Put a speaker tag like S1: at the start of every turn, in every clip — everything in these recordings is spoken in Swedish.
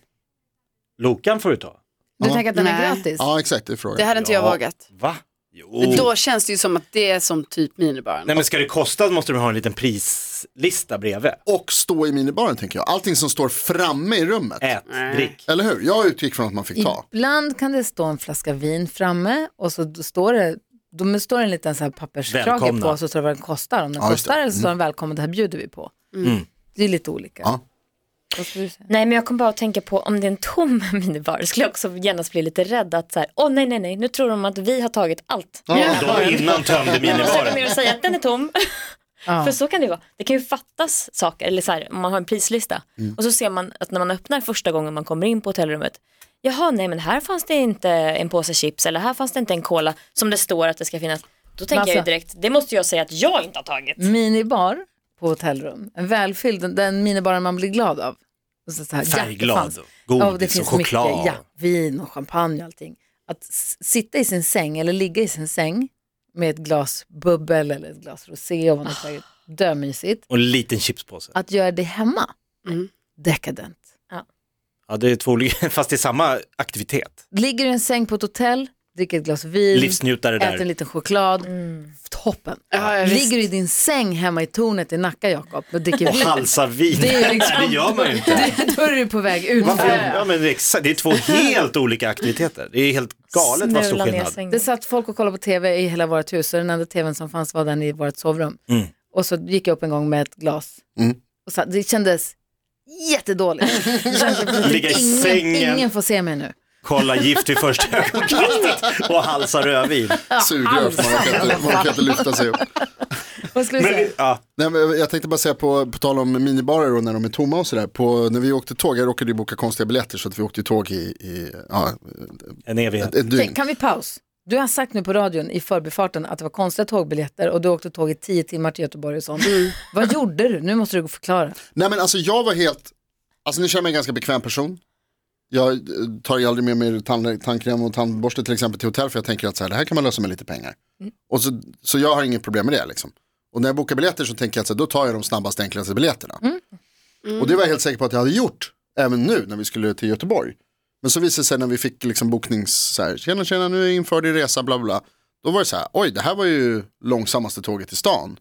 S1: Lokan får du ta.
S2: Du
S3: Ja.
S2: tänker att den är
S4: Nej.
S2: gratis?
S3: Ja, exakt, det är
S4: Det
S3: frågan.
S4: hade inte jag
S1: Ja.
S4: vågat.
S1: Va? Jo.
S4: Då känns det ju som att det är som typ minibaren.
S1: Nej men ska det kosta måste du ha en liten prislista bredvid.
S3: Och stå i minibaren tänker jag. Allting som står framme i rummet.
S1: Ät, drick.
S3: Eller hur? Jag utgick från att man fick ta.
S2: Ibland kan det stå en flaska vin framme och så d- står det då står det en liten så här papperskrage
S1: Välkomna.
S2: på och så står det vad den kostar. Om den
S3: Ja, just
S2: kostar
S3: det.
S2: eller så står det
S1: Mm.
S2: välkommen, det här bjuder vi på. Det är lite olika.
S3: Ja.
S2: Vad skulle du säga?
S5: Nej men jag kom bara att tänka på om det är en tom minibar skulle jag också genast bli lite rädd att så här, åh nej nej nej, nu tror de att vi har tagit allt.
S1: Ja, då
S5: Och
S1: innan tömde
S5: så kommer
S1: minibaren.
S5: jag att säga att den är tom. För så kan det ju vara. Det kan ju fattas saker, eller så här, om man har en prislista.
S1: Mm.
S5: Och så ser man att när man öppnar första gången man kommer in på hotellrummet, jaha nej men här fanns det inte en påse chips eller här fanns det inte en cola som det står att det ska finnas. Då tänker jag ju
S2: Massa.
S5: direkt, det måste jag säga att jag inte har tagit.
S2: Minibar på hotellrum. En välfylld, den- den minibaren man blir glad av. Och så, så här, ja,
S1: Färgglad,
S2: det fanns-
S1: godis
S2: ja, det
S1: och
S2: finns
S1: choklad.
S2: Mycket, ja, vin och champagne och allting. Att s- sitta i sin säng eller ligga i sin säng med ett glas bubbel eller ett glas rosé och vad man
S1: Ah.
S2: har tagit. Dömysigt.
S1: Och en liten chipspåse.
S2: Att göra det hemma,
S4: Mm.
S2: dekadent.
S1: Ja, det är två olika, fast det är samma aktivitet.
S2: Ligger i en säng på ett hotell, dricker ett glas vin,
S1: Livsnjutare
S2: Mm. äter en
S1: där.
S2: liten choklad. Toppen.
S4: Mm. Ja, ja, visst.
S2: Ligger i din säng hemma i tornet i Nacka, Jakob, och dricker
S1: Och
S2: vin.
S1: halsa vin.
S2: Det är liksom-
S1: Det gör man ju inte.
S2: Då är du på väg ut.
S1: Varför? Ja, men det, är exakt, det är två helt olika aktiviteter. Det är helt galet vad stor
S5: Smula ner
S1: skillnad.
S5: sängen.
S2: Det satt folk och kollade på tv i hela vårt hus och den enda tvn som fanns var den i vårt sovrum.
S1: Mm.
S2: Och så gick jag upp en gång med ett glas. Och så, det kändes jättedåligt. Det kändes,
S1: Ligga i
S2: ingen,
S1: sängen.
S2: ingen får se mig nu.
S1: Kolla Gift vid första ögonkastet och halsa rödvin.
S3: Sugrör för man kan, inte, man kan inte lyfta sig upp.
S2: Vad skulle du säga?
S1: Men, ja,
S3: Nej, men jag tänkte bara säga på, på tal om minibarer och när de är tomma och sådär. På- När vi åkte tåg, jag råkade ju boka konstiga biljetter så att vi åkte ju tåg i, i ja,
S1: en evighet.
S3: ett
S2: Okej,
S3: dygn.
S2: kan vi paus? Du har sagt nu på radion i förbifarten att det var konstiga tågbiljetter och du åkte tåg i tio timmar till Göteborg och sånt.
S3: Mm.
S2: Vad gjorde du? Nu måste du gå och förklara.
S3: Nej men alltså jag var helt, alltså nu känner jag mig en ganska bekväm person. Jag eh, tar ju aldrig med mig tand, tandkräm och tandborste till exempel till hotell för jag tänker att så här, det här kan man lösa med lite pengar. Och så, så jag har inget problem med det liksom. Och när jag bokar biljetter så tänker jag att så här, då tar jag de snabbaste enklaste biljetterna. Och det var jag helt säker på att jag hade gjort, även nu när vi skulle till Göteborg. Men så visade det sig när vi fick liksom boknings, så här, tjena tjena nu är jag införd i resa bla bla, bla. Då var det så här, oj det här var ju långsammaste tåget i stan.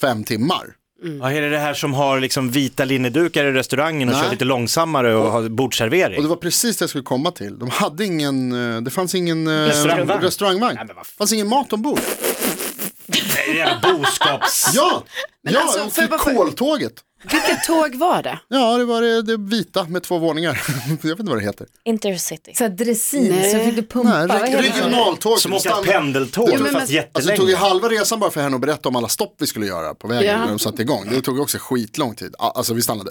S3: Fem timmar.
S1: Ja, är det det här som har liksom vita linnedukar i restaurangen och
S3: Nej.
S1: kör lite långsammare och har
S3: Och det
S1: bordsservering?
S3: var precis det jag skulle komma till. De hade ingen, eh, det fanns ingen eh,
S1: Restaurangvagn.
S3: restaurangvagn.
S1: Nej, men vad fan.
S3: fanns ingen mat ombord.
S1: Det är jävla boskaps...
S3: Ja, ja jag
S4: alltså, får
S3: åkte
S4: jag bara-
S3: koltåget.
S4: Vilket tåg var det?
S3: Ja, det var det, det vita med två våningar. jag vet inte vad det heter.
S5: Intercity.
S2: Så här dressin,
S4: Nej.
S2: så fick du pumpa.
S3: Nej,
S2: Vad
S3: reg-
S2: heter det?
S3: regionaltåg.
S1: Som
S3: Det
S1: åker
S3: stann-
S1: pendeltåg
S3: Jo, men-
S1: fast
S3: Alltså det tog
S1: jättelänge.
S3: ju halva resan bara för henne att berätta om alla stopp vi skulle göra på vägen
S4: Ja.
S3: när de satte igång. Det tog också skitlång tid. A- Alltså vi stannade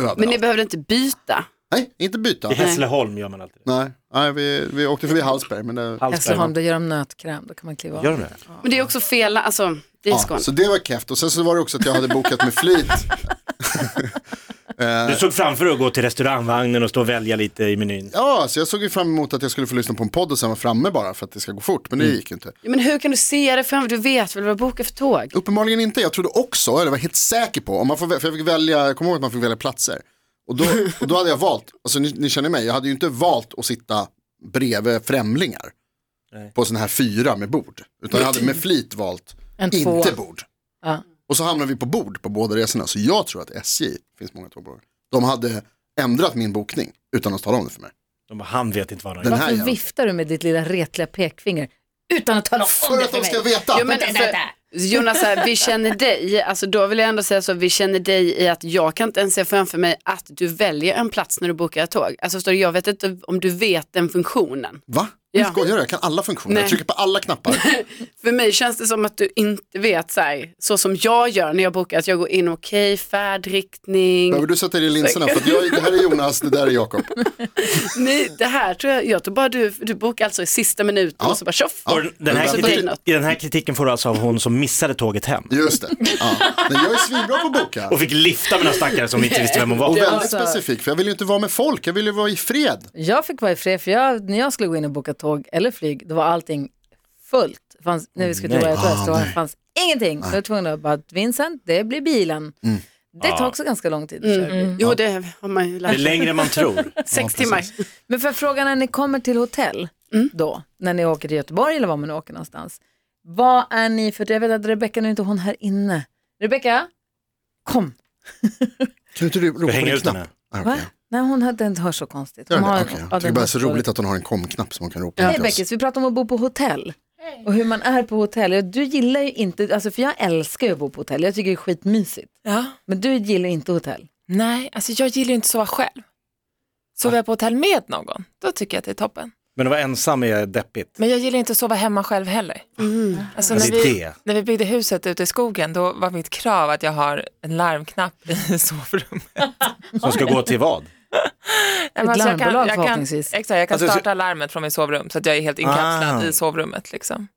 S3: överallt.
S4: Men ni behövde inte byta.
S3: Nej, inte byta.
S1: I Hässleholm gör man alltid det.
S3: Nej, nej vi, vi åkte förbi Hallsberg. Men det...
S2: Hässleholm, där gör de nötkräm, då kan man kliva av.
S1: Gör de det?
S4: Men det är också fel, alltså det är
S3: Ja,
S4: Skåne.
S3: så det var keft. Och sen så var det också att jag hade bokat med flit.
S1: Du såg framför dig att gå till restaurangvagnen och stå och välja lite i menyn.
S3: Ja, så jag såg ju fram emot att jag skulle få lyssna på en podd och sen vara framme bara för att det ska gå fort, men det
S2: Mm.
S3: gick ju inte.
S4: Ja, Men hur kan du se det framför Du vet väl vad boka för tåg?
S3: Uppenbarligen inte, jag trodde också, eller var helt säker på, om man får, vä- för jag fick välja, jag kommer ihåg att man fick välja platser. Och då, och då hade jag valt, alltså ni, ni känner mig, jag hade ju inte valt att sitta bredvid främlingar. På sån här fyra med bord. Utan jag hade med flit valt
S2: En tvåa.
S3: inte bord.
S2: Ja.
S3: Och så hamnade vi på bord på båda resorna, så jag tror att SJ, det finns många tågbolag, de hade ändrat min bokning utan att tala om det för mig.
S1: De bara, han vet inte vad han har
S3: Den
S1: gjort.
S3: här
S2: Varför
S3: jäveln.
S2: viftar du med ditt lilla retliga pekfinger utan att tala om
S3: För
S2: det
S3: att
S2: för
S3: de
S2: mig?
S3: ska veta!
S4: Jo, men för, Jonas, så här, vi känner dig, alltså då vill jag ändå säga så, vi känner dig i att jag kan inte ens se framför mig att du väljer en plats när du bokar ett tåg. Alltså förstår du, jag vet inte om du vet den funktionen.
S3: Va?
S4: Ja.
S3: Skojar du? Jag kan alla funktioner.
S4: Nej.
S3: Jag trycker på alla knappar.
S4: För mig känns det som att du inte vet så, här, så som jag gör när jag bokar, att jag går in, okej, färdriktning.
S3: Behöver du sätta dig i linserna? För att jag, det här är Jonas, det där är Jakob.
S4: Nej, det här tror jag, jag tror bara du, du bokar alltså i sista minuten och så bara tjoff.
S3: Ja.
S1: Och Den här,
S3: Ja,
S4: det
S1: kritik,
S4: betyder något.
S1: den här kritiken får du alltså av hon som missade tåget hem.
S3: Just det. Ja. Men jag är svinbra på att boka.
S1: Och fick lifta med några stackare som inte visste vem hon
S3: Och
S1: var.
S3: väldigt
S2: alltså-
S3: specifik, för jag vill ju inte vara med folk, jag vill ju vara i fred.
S2: Jag fick vara i fred, för jag, när jag skulle gå in och boka tåg eller flyg, då var allting fullt. Det Fanns, när vi skulle till
S1: Nej.
S2: West
S3: Ah,
S2: West, då fanns ingenting. Så jag var tvungen att bara, Vincent, det blir bilen.
S3: Mm.
S2: Det tar också ganska lång tid. att köra bil.
S4: Jo, det har man
S1: Det
S4: ju
S1: är
S4: lärt sig.
S1: längre än man tror.
S4: Sex timmar.
S2: Men för frågan när ni kommer till hotell, då, när ni åker till Göteborg eller var man nu åker någonstans. Vad är ni för, jag vet att Rebecka, nu är inte hon här inne. Rebecka, kom.
S3: Kan inte du ropa på
S1: hänga
S3: din
S1: ut den
S3: knapp? Ah,
S2: Va?
S3: okej.
S2: Nej, hon hade inte hört så konstigt.
S3: Gör
S2: Hon
S3: det?
S2: har-
S3: Okej.
S2: ja,
S3: Jag
S2: den
S3: tycker bara det är så
S2: hör så-
S3: roligt att alltså. hon har en kom-knapp som hon kan ropa
S2: Nej,
S3: till oss.
S2: Beckis, vi pratar om att bo på hotell. Och hur man är på hotell. Och Du gillar ju inte, alltså för jag älskar ju att bo på hotell. Jag tycker det är skitmysigt.
S6: Ja.
S2: Men du gillar inte hotell.
S6: Nej, alltså jag gillar ju inte att sova själv. Sover jag på hotell med någon, då tycker jag att det är toppen.
S1: Men att vara ensam är deppigt.
S6: Men jag gillar inte att sova hemma själv heller. Alltså när,
S1: Alltså,
S6: vi,
S1: det.
S6: när vi byggde huset ute i skogen, då var mitt krav att jag har en larmknapp i sovrummet.
S1: Som ska gå till vad?
S6: Nej, men alltså, jag kan,
S2: larmbolag
S6: jag kan,
S2: förhoppningsvis.
S6: exakt, jag kan
S1: Alltså, så-
S6: starta larmet från mitt sovrum så att jag är helt inkapslad
S1: Ah.
S6: i sovrummet. Liksom.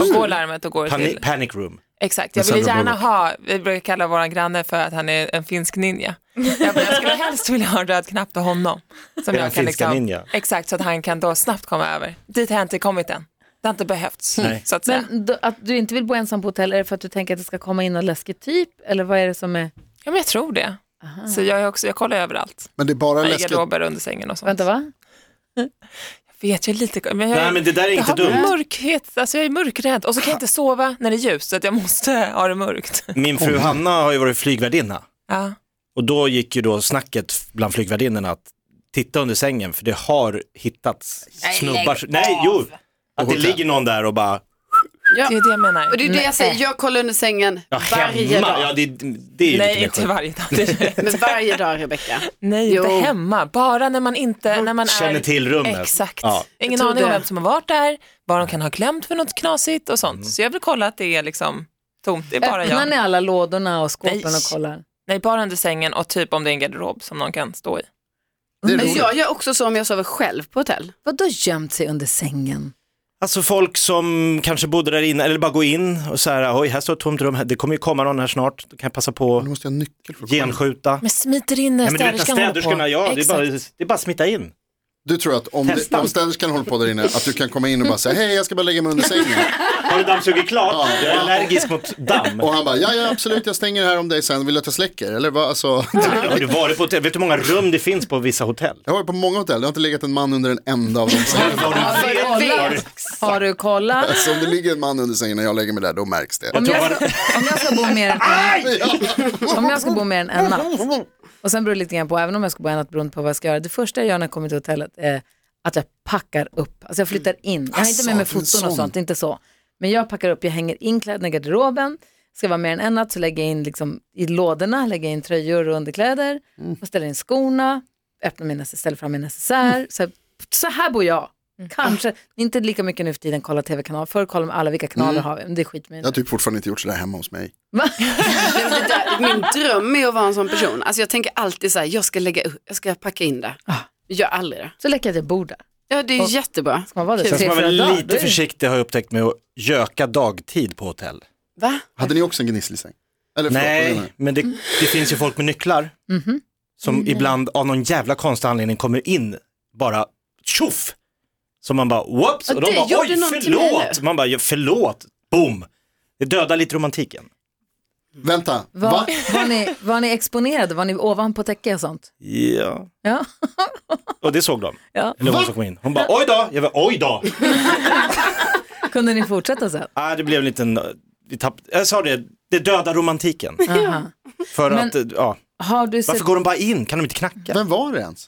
S6: Och går larmet och går
S1: Pani-
S6: till...
S1: panic room.
S6: Exakt, jag
S1: Men
S6: vill
S1: Sandra
S6: gärna
S1: Bullock.
S6: ha, vi brukar kalla våran granne för att han är en finsk ninja. Jag, bara, jag skulle helst vilja ha en röd knapp till honom. Som liksom-
S1: Är han finska ninja?
S6: Exakt, så att han kan då snabbt komma över. Dit har jag inte kommit än. Det har inte behövts,
S1: Nej.
S6: så att säga.
S2: Men då, att du inte vill bo ensam på hotell, är det för att du tänker att det ska komma in någon läskig typ? Eller vad är det som är...
S6: Ja, men jag tror det. Så jag, är också, jag kollar överallt.
S3: Men det är bara
S6: I
S3: läskigt.
S6: garderober under sängen och sånt.
S2: Vänta, va?
S6: Vet jag är lite, men jag,
S1: Nej, men det där är inte
S6: jag har
S1: dumt.
S6: mörkhet, alltså jag är mörkrädd och så kan jag inte sova när det är ljust så att jag måste ha det mörkt.
S1: Min fru Hanna har ju varit flygvärdinna.
S6: Ja.
S1: Och då gick ju då snacket bland flygvärdinnorna att titta under sängen för det har hittats snubbar. Nej, jo, att det
S3: hotell.
S1: ligger någon där och bara,
S6: Det är det jag menar.
S4: Och det är det jag säger, jag kollar under sängen
S1: ja,
S4: varje
S1: hemma, ja
S4: dag.
S1: det, det är ju lite
S6: Nej,
S1: mer
S6: inte
S1: sjukt.
S6: varje dag. Det är
S4: Men varje dag Rebecka.
S6: Nej,
S4: Jo.
S6: inte hemma. Bara när man inte, när man
S1: Känner
S6: är...
S1: till rummet.
S6: Exakt.
S1: Ja.
S6: Ingen
S4: tror
S6: aning om
S4: det.
S6: vem som har varit där, vad de kan ha glömt för något knasigt och
S1: Mm.
S6: sånt. Så jag vill kolla att det är liksom tomt. Det är bara
S2: Öppnar ni
S6: jag.
S2: alla lådorna och skåpen
S6: Nej.
S2: och kollar?
S6: Nej, bara under sängen och typ om det är en garderob som någon kan stå i.
S3: Det är
S4: Men
S3: roligt.
S4: jag gör också så om jag sover själv på hotell.
S2: Vadå gömt sig under sängen?
S1: Alltså folk som kanske bodde där inne, eller bara gå in och så här, oj här står ett tomt rum, här- det kommer ju komma någon här snart, då kan jag passa på
S3: Nu måste jag ha nyckel för
S1: att
S3: att komma in.
S1: genskjuta.
S6: Men smiter in när
S1: Nej, men du vet,
S6: städerskan håller på.
S1: städerskorna, ja, det är,
S6: Exakt.
S1: bara, det är bara att smita in.
S3: Du tror att om, det,
S1: Testa.
S3: om städerskan håller på där inne, att du kan komma in och bara säga hej jag ska bara lägga mig under sängen.
S1: Har du dammsugit klart?
S3: Ja.
S1: Jag är allergisk mot damm.
S3: Och han bara, ja ja absolut jag stänger här om dig sen, vill du att jag släcker? Eller vad, alltså. det-
S1: Har du varit på hotell? Vet du hur många rum det finns på vissa hotell?
S3: Jag har varit på många hotell, det har inte legat en man under en enda av dem.
S4: Jag vet.
S2: Har du kollat?
S3: Så Alltså, om det ligger en man under sängen när jag lägger mig där, då märks det.
S2: Om jag, ska, om, jag ska bo mer än en, om jag ska bo mer än en natt, och sen beror det lite grann på, även om jag ska bo en natt beroende på vad jag ska göra, det första jag gör när jag kommer till hotellet är att jag packar upp, alltså jag flyttar in. Jag har inte med mig
S3: Alltså, en
S2: foton och
S3: sån.
S2: sånt, inte så. Men jag packar upp, jag hänger in kläderna i garderoben, ska jag vara mer än en natt så lägger jag in liksom, i lådorna, lägger jag in tröjor och underkläder,
S1: Mm.
S2: och ställer in skorna, öppnar min, necess- ställer fram min necessär. Så, här- så här bor jag. Kanske, inte lika mycket nu för tiden kolla tv-kanal, förr kollade man alla vilka kanaler
S1: Mm.
S2: har vi, men det är skit
S3: Jag har typ fortfarande inte gjort sådär hemma hos mig.
S4: Men det där, min dröm är att vara en sån person. Alltså jag tänker alltid så här, jag ska lägga upp, jag ska packa in det.
S1: Ah.
S4: Jag gör aldrig det.
S2: Så läcker jag att jag bor där.
S4: Ja det är
S2: Och-
S4: jättebra.
S2: Ska man vara där
S1: Sen
S2: tre,
S1: ska man
S2: fyra
S1: väl
S2: dagar? Då är
S1: lite
S2: det-
S1: försiktig har jag upptäckt med att göka dagtid på hotell.
S4: Va?
S3: Hade ni också en gnisslig säng? Eller förlåt, vad menar
S1: Nej,
S3: du?
S1: men det, det finns ju folk med nycklar
S2: Mhm.
S1: som
S2: Mm.
S1: ibland av någon jävla konstig anledning kommer in bara tjoff. Så man bara whoops och
S4: Ja,
S1: de
S4: det
S1: bara
S4: gjorde
S1: oj
S4: någon till mig
S1: förlåt.
S4: nu.
S1: Man bara "Ja, förlåt, boom. Det dödar lite romantiken.
S3: Vänta, va?
S2: Var, var, ni, var ni exponerade? Var ni ovanpå täcke och sånt?
S1: Ja.
S2: Ja.
S1: Och det såg de.
S2: Ja.
S1: Eller hon som kom in. Hon bara oj då, jag bara oj då.
S2: Kunde ni fortsätta sen?
S1: Ah, det blev en liten, vi tapp, jag sa det, det dödar romantiken.
S2: Aha.
S1: För
S2: Men-
S1: att, ja,
S2: Har du sett,
S1: varför går de bara in? Kan de inte knacka?
S3: Vem var det ens?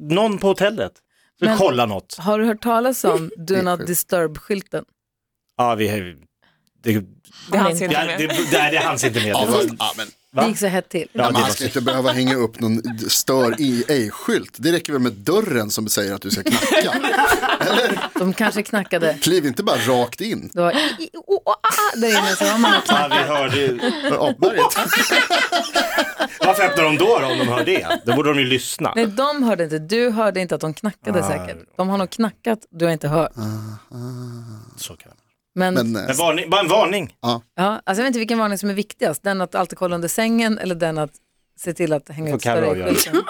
S1: Någon på hotellet. Så
S2: Men-
S1: kolla något.
S2: har du hört talas om Do Not
S3: sjukt.
S2: Disturb-skylten?
S1: Ja, vi har ju- det,
S6: Det hanns inte
S1: det,
S6: med.
S1: det, det, det hanns inte med.
S3: Ja,
S1: Det var-
S3: fast, ja, men,
S1: Va?
S2: Det gick så hett till.
S1: Ja, det
S3: man
S1: var
S3: ska inte behöva hänga upp någon d- stör i ej-skylt. Det räcker väl med dörren som säger att du ska knacka.
S2: De kanske knackade.
S3: Kliv inte bara rakt in.
S2: Det var i, i, o, o, a, där inne så har man och
S1: Ja,
S2: knack.
S1: vi hörde,
S3: För Apberget.
S1: varför öppnar de då, då om de hör det? Då borde de ju lyssna.
S2: Nej, de hörde inte. Du hörde inte att de knackade
S1: Ah.
S2: säkert. De har nog knackat, du har inte hört.
S1: Så kan det.
S2: Men,
S3: Men, eh,
S1: Ah. Men varning, bara en varning.
S2: ja, alltså jag vet inte vilken varning som är viktigast. Den att alltid kolla under sängen eller den att se till att hänga
S1: Får
S2: ut
S1: Karo
S2: större
S1: avgöra.
S2: skylten.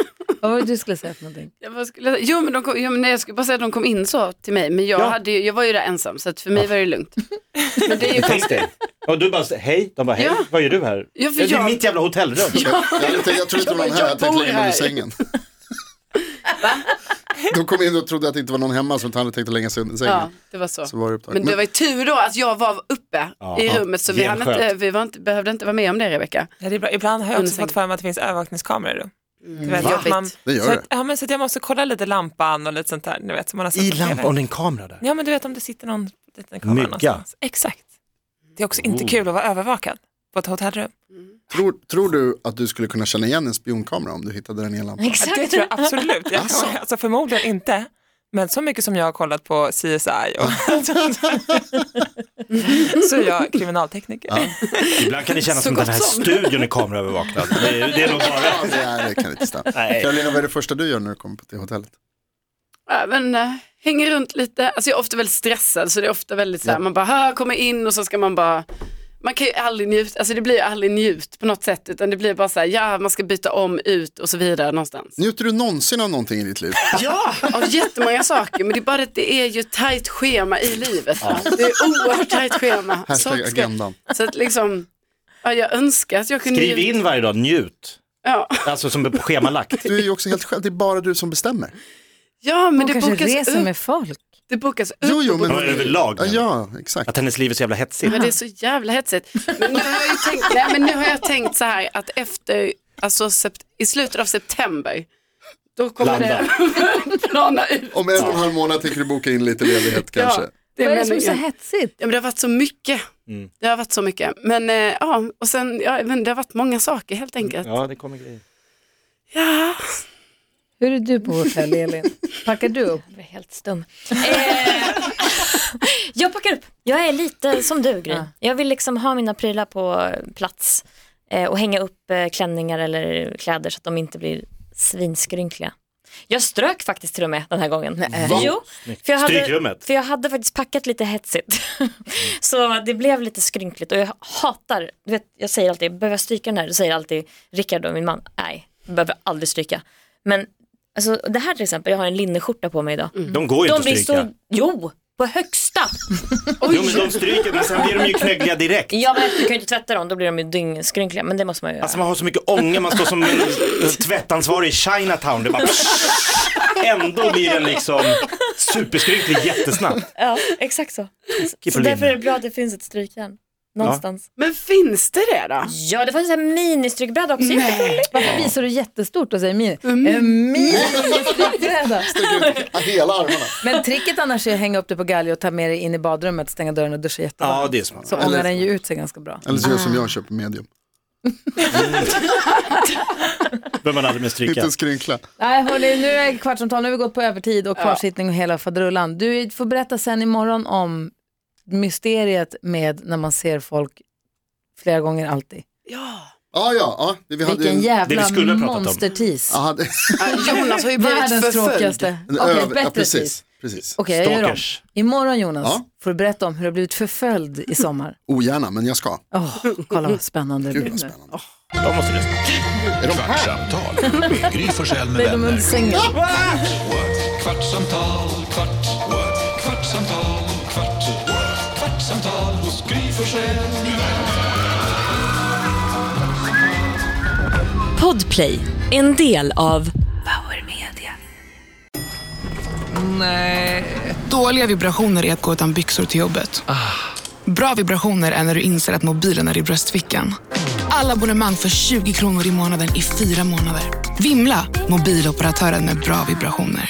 S2: Vad var det du skulle säga för någonting?
S4: Jag bara skulle, jo men, de kom, jo, men nej, jag skulle bara säga att de kom in så till mig. Men jag,
S1: Ja.
S4: hade, ju- jag var ju där ensam så att för mig var det lugnt. Men det är ju
S1: Tänk dig. Och du bara, hej, de bara, hej,
S4: Ja.
S1: vad gör du här?
S4: Ja, för
S1: det är
S4: jag-
S1: mitt jävla hotellrum.
S3: Jag, jag, jag tror inte det var den här, jag tänkte
S4: bor
S3: lägga mig under
S4: här.
S3: sängen. De kom in och trodde att det inte var någon hemma som hade tänkt att länga sig under
S4: Ja,
S3: sängen.
S4: det var så.
S3: Så var det upptaget.
S4: Men det var ju tur då att jag var uppe
S1: Ja.
S4: i rummet så vi, hann
S1: Genskönt.
S4: inte, vi var inte, behövde inte vara med om det Rebecka.
S6: Ja, det är bra. Ibland har jag också
S4: Undersökt.
S6: fått för mig att det finns övervakningskameror. Då. Du vet,
S4: Va?
S6: att man,
S3: Det Mm. gör
S6: så
S3: det.
S6: att, ja, men så att jag måste kolla lite lampan och lite sånt där. Du vet, som man har sett
S1: I
S6: på TV.
S1: lampan, om det är en kamera där.
S6: Ja, men du vet om det sitter någon liten kamera
S1: Mygga.
S6: någonstans. Exakt. Det är också inte
S1: Oh.
S6: kul att vara övervakad på ett hotellrum.
S3: Tror, tror du att du skulle kunna känna igen en spionkamera om du hittade den i en lampa?
S6: Ja,
S5: Exakt.
S6: det tror jag absolut. Jag,
S3: Alltså.
S6: alltså, förmodligen inte. Men så mycket som jag har kollat på CSI och så är jag kriminaltekniker.
S1: Ibland kan det kännas som att den här studion är kameraövervakad. Det är, det är nog
S3: Ja,
S1: bara...
S3: det, är, det kan inte stämma.
S1: Nej.
S3: Karolina, vad är det första du gör när du kommer på till hotellet?
S4: Ja, men, eh, hänger runt lite, alltså jag är ofta väldigt stressad så det är ofta väldigt så här, man bara "Hö, kommer in och så ska man bara man kan ju aldrig njuta, alltså det blir ju aldrig njut på något sätt utan det blir bara så här, ja man ska byta om, ut och så vidare någonstans.
S3: Njuter du någonsin av någonting i ditt liv?
S4: Ja, av jättemånga saker. Men det är bara att det är ju ett tajt schema i livet. va? Det är oerhört tajt schema.
S3: Hashtag
S4: Saker ska-
S3: agendan.
S4: Så att liksom, ja, jag önskar att jag kunde...
S1: Skriv in varje dag, njut.
S4: Ja,
S1: Alltså som är på schemalagt.
S3: Du är ju också helt själv, det är bara du som bestämmer.
S4: ja men
S2: Hon
S4: det
S2: kanske
S4: bokas,
S2: reser
S4: upp,
S2: med folk.
S4: det bokas upp.
S3: Jo, jo,
S4: och
S3: men...
S4: bokas-
S1: Ja, överlag.
S3: Ja, ja, exakt.
S1: Att hennes liv är så jävla hetsigt.
S4: Men det är så jävla hetsigt. Men nu har jag ju tänkt, nej, men nu har jag tänkt så här att efter, alltså sept, i slutet av september, då kommer
S1: Landa.
S4: det plana ut.
S3: Om en och en halv månad tänker du boka in lite ledighet kanske.
S4: Ja, det
S2: Vad är det som är så
S4: meningen.
S2: hetsigt?
S4: Ja, men det har varit så mycket.
S1: Mm.
S4: Det har varit så mycket. Men, eh, ja, och sen, ja, men det har varit många saker helt enkelt. Ja.
S1: Ja, det kommer grejer.
S2: Hur är du på hotell, Elin? Packar du upp?
S5: Jag blev helt stum. Eh, jag packar upp. Jag är lite som du Gry. Jag vill liksom ha mina prylar på plats eh, och hänga upp eh, klänningar eller kläder så att de inte blir svinskrynkliga. Jag strök faktiskt till och med den här gången.
S3: Va?
S5: Jo, för jag, hade,
S1: Strykrummet.
S5: för jag hade faktiskt packat lite hetsigt. så det blev lite skrynkligt och jag hatar, du vet, jag säger alltid, behöver jag stryka den här? Då säger alltid Rickard och min man, nej, behöver aldrig stryka. Men alltså, det här till exempel, jag har en linneskjorta på mig idag.
S1: De går ju
S5: De
S1: inte
S5: blir
S1: att stryka.
S5: så, jo, på högsta.
S1: Jo, men de stryker, men sen blir de ju knöggliga direkt.
S5: Ja men du kan ju inte tvätta dem, då blir de ju dyngskrynkliga. Men det måste man ju göra.
S1: Alltså man har så mycket ånga, man står som en tvättansvarig i Chinatown. Det bara Ändå blir den liksom superskrynklig jättesnabbt.
S5: ja, exakt så.
S1: Keep
S5: Så
S1: it
S5: därför
S1: in.
S5: är det bra att det finns ett strykjärn. Någonstans.
S4: Men finns det det då?
S5: Ja, det fanns en ministrykbräda också. Jättegulligt.
S2: Varför visar du jättestort och säger min? En mini-strykbräda.
S3: Ja, Hela armarna.
S2: Men tricket annars är att hänga upp det på galgen och ta med det in i badrummet, stänga dörren och duscha jättevarmt.
S1: Ja, det är smart.
S2: Så ångar den ju ut sig ganska bra.
S3: Eller så gör som jag, köper medium.
S1: Behöver man aldrig mer
S3: Inte
S1: stryka.
S3: en skrynkla.
S2: Nej, hörni, nu är det kvartsamtal, nu har vi gått på övertid och kvarsittning och hela faderullan. Du får berätta sen imorgon om mysteriet med när man ser folk flera gånger alltid.
S3: Ja, ja, ja. det Vi hade ju
S2: Vilken
S3: en,
S1: Det vi skulle
S2: jävla
S1: ha pratat om.
S2: monstertis.
S3: ja, hade,
S4: Ja,
S5: Ah,
S4: Jonas har ju blivit
S2: Världens
S4: förföljd.
S2: tråkigaste.
S3: en
S2: Okej,
S3: över, ja,
S2: bättre
S3: precis.
S2: tis.
S3: precis.
S2: Okej, jag gör om.
S1: Stalkers.
S2: Imorgon Jonas
S3: Ja.
S2: får du berätta om hur du har blivit förföljd i sommar.
S3: Ogärna, men jag ska.
S2: Åh, kolla vad spännande det
S3: Gud
S2: blir
S3: vad
S2: nu.
S3: spännande.
S1: De måste lyssna.
S7: Kvartsamtal med Gry Forssell med
S2: Nej, de är under
S7: vänner.
S2: sängen.
S7: What? Kvartsamtal, kvart, what? kvartsamtal, kvart, what? kvartsamtal hos Gry Forssell med vänner.
S8: Podplay, en del av Power Media.
S9: Dåliga vibrationer är att gå utan byxor till jobbet. Bra vibrationer är när du inser att mobilen är i bröstfickan. Alla abonnemang för 20 kronor i månaden i fyra månader. Vimla! Mobiloperatören med bra vibrationer.